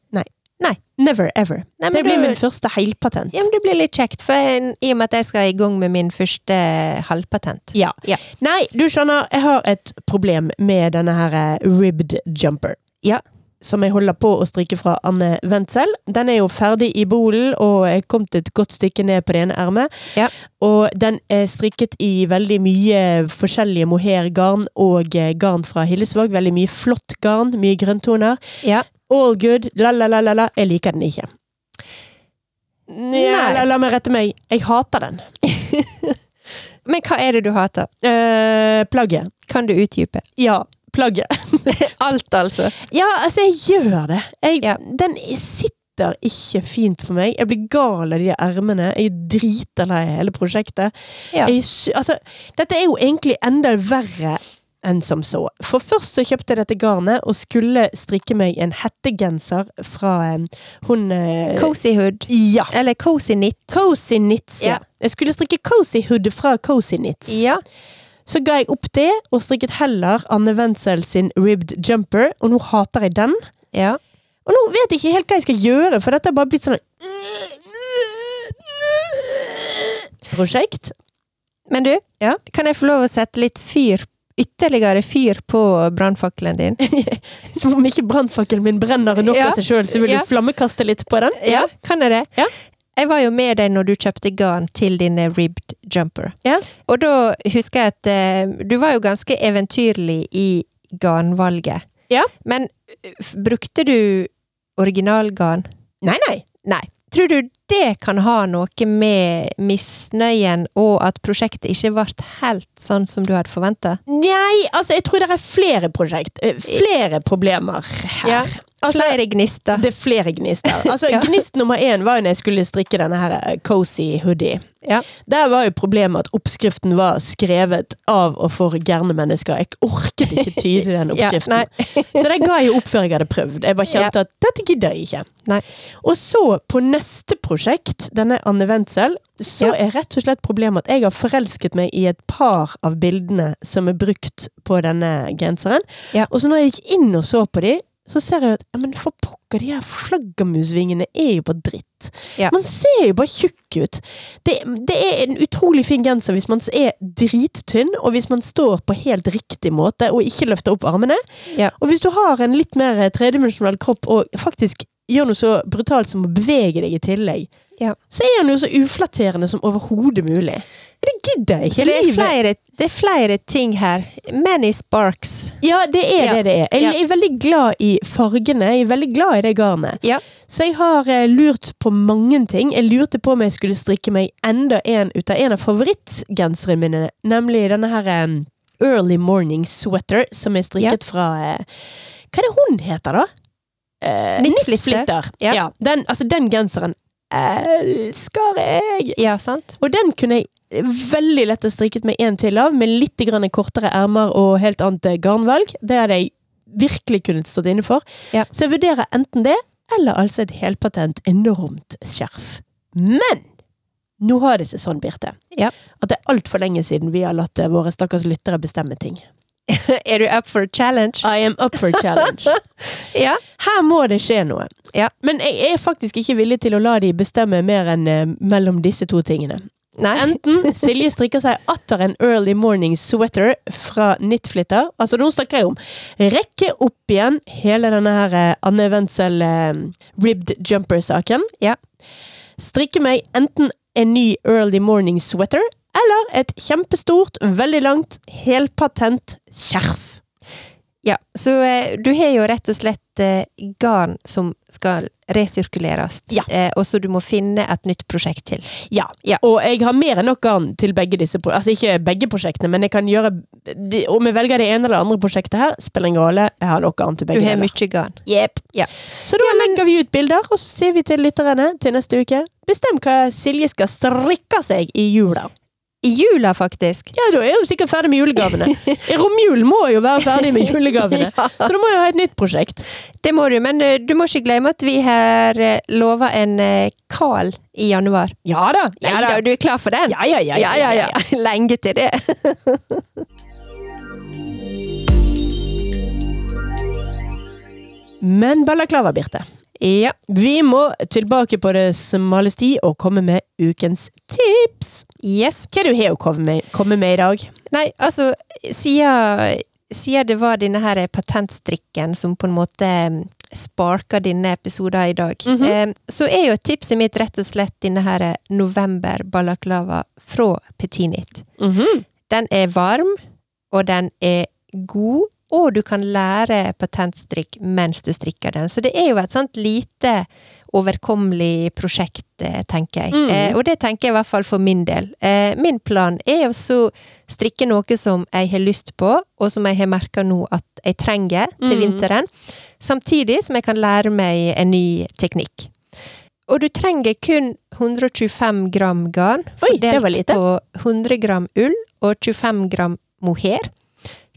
Never ever. Nei, men det blir da- min første helpatent. Ja, men Det blir litt kjekt, for jeg, i og med at jeg skal i gang med min første halvpatent. Ja. Ja. Nei, du skjønner, jeg har et problem med denne her eh, ribbed jumper. Ja. som jeg holder på å strikke fra Anne Wendsel. Den er jo ferdig i bolen, og jeg kom til et godt stykke ned på det ene ermet. Ja. Og den er strikket i veldig mye forskjellige mohairgarn og eh, garn fra Hillesvåg. Veldig mye flott garn, mye grønntoner. Ja. All good, la-la-la-la. Jeg liker den ikke. Nei. La, la meg rette meg. Jeg hater den. Men hva er det du hater? Eh, plagget. Kan du utdype? Ja, plagget. Alt, altså. Ja, altså, jeg gjør det. Jeg, Ja. Den sitter ikke fint for meg. Jeg blir gal av de ermene. Jeg er driterlei av hele prosjektet. Ja. Jeg sy- altså, dette er jo egentlig enda verre enn som så. For først så kjøpte jeg dette garnet og skulle strikke meg en hettegenser fra eh, hun eh, Cozy hood. Ja. Eller cozy knit. Cozy Knits, ja. Ja. Jeg skulle strikke Cozy Hood fra Cozy Knits. Ja. Så ga jeg opp det, og strikket heller Anne Wendsel sin ribbed jumper, og nå hater jeg den. ja. Og nå vet jeg ikke helt hva jeg skal gjøre, for dette har bare blitt sånn Prosjekt. Men du, Ja? kan jeg få lov å sette litt fyr, ytterligere fyr på brannfakkelen din? Som om ikke brannfakkelen min brenner nok Ja. av seg sjøl, så vil Ja. du flammekaste litt på den? Kan jeg det? Ja. Jeg var jo med deg når du kjøpte garn til din eh, ribbed jumper. Ja. Og da husker jeg at eh, du var jo ganske eventyrlig i garnvalget. Ja. Men eh, f- brukte du originalgarn? Nei, nei. Nei. Tror du det kan ha noe med misnøyen og at prosjektet ikke ble helt sånn som du hadde forventa? Nei, altså, jeg tror det er flere prosjekt. eh, Flere problemer her. Ja. Altså, Flere gnister. det er flere <laughs> gnister. Altså, Ja. Gnist nummer én var jo når jeg skulle strikke denne her eh, cozy hoodie. Ja. Der var jo problemet at oppskriften var skrevet av og for gærne mennesker. Jeg orket ikke tyde den <laughs> Ja, oppskriften. nei. så det ga jeg opp før jeg hadde prøvd. Jeg bare kjente at dette gidder jeg ikke. Nei. Og så, på neste prosjekt, denne Anne Wendsel, så Ja. er rett og slett problemet at jeg har forelsket meg i et par av bildene som er brukt på denne genseren. Ja. Og så når jeg gikk inn og så på de, så ser jeg at ja, men for pokker, de her flaggermusvingene er jo bare dritt. Ja. Man ser jo bare tjukk ut. Det, det er en utrolig fin genser hvis man er drittynn, og hvis man står på helt riktig måte og ikke løfter opp armene. Ja. Og hvis du har en litt mer eh, tredimensjonal kropp og faktisk gjør noe så brutalt som å bevege deg i tillegg, Ja. så er han jo så uflatterende som overhodet mulig. Men det gidder jeg Så ikke. det er, Livet- flere, det er flere ting her. Many sparks. Ja, det er Ja. det det er. Jeg Ja. er veldig glad i fargene. Jeg er veldig glad i det garnet. Ja. Så jeg har eh, lurt på mange ting. Jeg lurte på om jeg skulle strikke meg enda en ut av en av favorittgenserne mine, nemlig denne her eh, Early Morning Sweater, som er strikket fra eh, Hva er det hun heter, da? Eh, Knitflitter. Knitflitter. Ja. Ja. Den, altså, den genseren elsker jeg! Ja, sant? Og den kunne jeg veldig lett ha strikket meg en til av, med litt grann kortere ermer og helt annet eh, garnvalg. Det hadde jeg virkelig kunnet stått inne for. Ja. Så jeg vurderer enten det, eller altså et helpatent enormt skjerf. Men nå har det seg sånn, Birte, Ja. at det er altfor lenge siden vi har latt eh, våre stakkars lyttere bestemme ting. Er du up for a challenge? I am up for a <laughs> challenge. Ja. Her må det skje noe. Ja. Men jeg er faktisk ikke villig til å la de bestemme mer enn eh, mellom disse to tingene. Nei? Enten Silje strikker seg atter en early morning sweater fra Knitflitter. Altså, nå snakker jeg om rekke opp igjen hele denne her eh, Anne Wendsel eh, ribbed jumper-saken. Ja. Strikke meg enten en ny early morning sweater eller et kjempestort, veldig langt, helpatent skjerf. Ja. Så eh, du har jo rett og slett eh, garn som skal resirkuleres, Ja. eh, og så du må finne et nytt prosjekt til. Ja. Ja. Og jeg har mer enn nok garn til begge disse pro- Altså ikke begge prosjektene, men jeg kan gjøre de, Om jeg velger det ene eller det andre prosjektet her, spiller ingen rolle. Jeg har nok garn til Du begge. har deler. mye garn. Jepp. Ja. Så da legger vi ut bilder, og så sier vi til lytterne til neste uke Bestem hva Silje skal strikke seg i jula. I jula, <laughs> faktisk. Ja, da er hun sikkert ferdig med <laughs> julegavene. I Romjulen må jo være ferdig med julegavene, så du må jo ha et nytt prosjekt. Det må du, men eh, du må ikke glemme at vi har eh, lova en eh, kal i januar. Ja da. Ja da. Neida, Du er klar for den? Ja, ja, ja, ja, ja, ja. <laughs> Lenge til det. Men Balaklava, Birte. Ja. Vi må tilbake på det smale sti og komme med ukens tips. Yes. Hva er det du har å komme med, komme med i dag? Nei, altså, siden, siden det var denne her patentstrikken som på en måte mm, sparker denne episoden i dag, Mhm. eh, så er jo tipset mitt rett og slett denne her november-balaklava fra Petinit. Mhm. Den er varm, og den er god, og du kan lære patentstrikk mens du strikker den. Så det er jo et sånt lite overkommelig prosjekt, eh, tenker jeg. Mm. Eh, og det tenker jeg i hvert fall for min del. Eh, min plan er også strikke noe som jeg har lyst på, og som jeg har merka nå at jeg trenger til Mm. vinteren. Samtidig som jeg kan lære meg en ny teknikk. Og du trenger kun 125 gram garn, Oi, det var lite. på 100 gram ull og 25 gram mohair.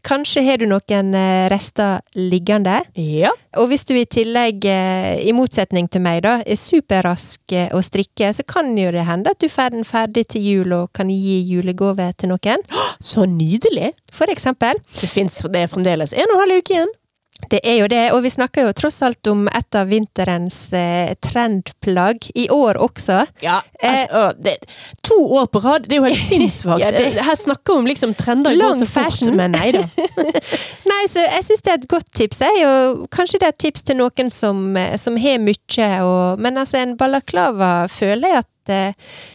Kanskje har du noen eh, rester liggende. Ja. Og hvis du i tillegg, eh, i motsetning til meg, da, er superrask eh, å strikke, så kan jo det hende at du får den ferdig til jul og kan gi julegave til noen. Så nydelig! For eksempel. Det fins det er fremdeles en og en halv uke igjen. Det er jo det, og vi snakker jo tross alt om et av vinterens eh, trendplagg. I år også. Ja, Eh, altså, å, det, To år på rad, det er jo <laughs> helt sinnssvakt. Ja, det- Her snakker vi om liksom trender Lang går så fort, fashion. men nei da. Nei, så jeg syns det er et godt tips, jeg. Og kanskje det er et tips til noen som, eh, som har mye. Og, men altså, en balaklava føler jeg at eh,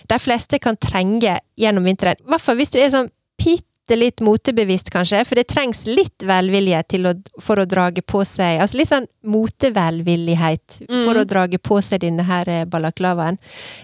de fleste kan trenge gjennom vinteren. I hvert fall hvis du er sånn bitte litt motebevisst, kanskje. For det trengs litt velvilje til å, for å drage på seg Altså litt sånn motevelvillighet for Mm. å drage på seg denne her eh, balaklavaen.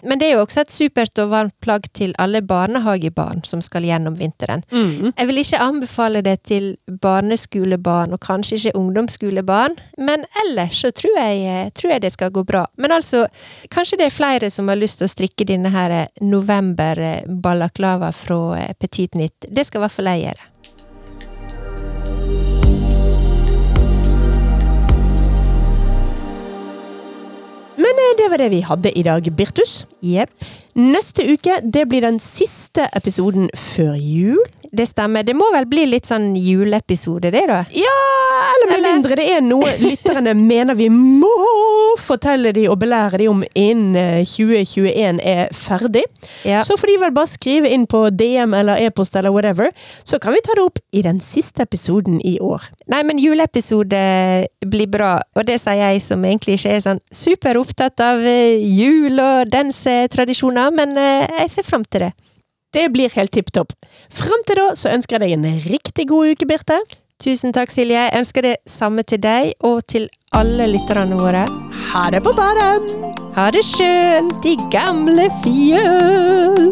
Men det er jo også et supert og varmt plagg til alle barnehagebarn som skal gjennom vinteren. Mm. Jeg vil ikke anbefale det til barneskolebarn, og kanskje ikke ungdomsskolebarn, men ellers så tror jeg, eh, tror jeg det skal gå bra. Men altså, kanskje det er flere som har lyst til å strikke denne her eh, november-balaklava fra eh, Petit Nytt. Det skal i hvert fall jeg gjøre. <laughs> Men eh, det var det vi hadde i dag, Birtus. Jepps. Neste uke det blir den siste episoden før jul. Det stemmer. Det må vel bli litt sånn juleepisode, det, da? Ja, eller med Eller- mindre det er noe <laughs> lytterne mener vi må fortelle de og belære de om innen eh, 2021 er ferdig. Ja. Så får de vel bare skrive inn på DM eller e-post eller whatever, så kan vi ta det opp i den siste episoden i år. Nei, men juleepisode blir bra, og det sier jeg som egentlig ikke er sånn super opptatt av eh, jul og dansetradisjoner, men eh, jeg ser fram til det. Det blir helt tipp topp. Fram til da så ønsker jeg deg en riktig god uke, Birte. Tusen takk, Silje. Jeg ønsker det samme til deg og til alle lytterne våre. Ha det på badet! Ha det sjøl, de gamle fjøl!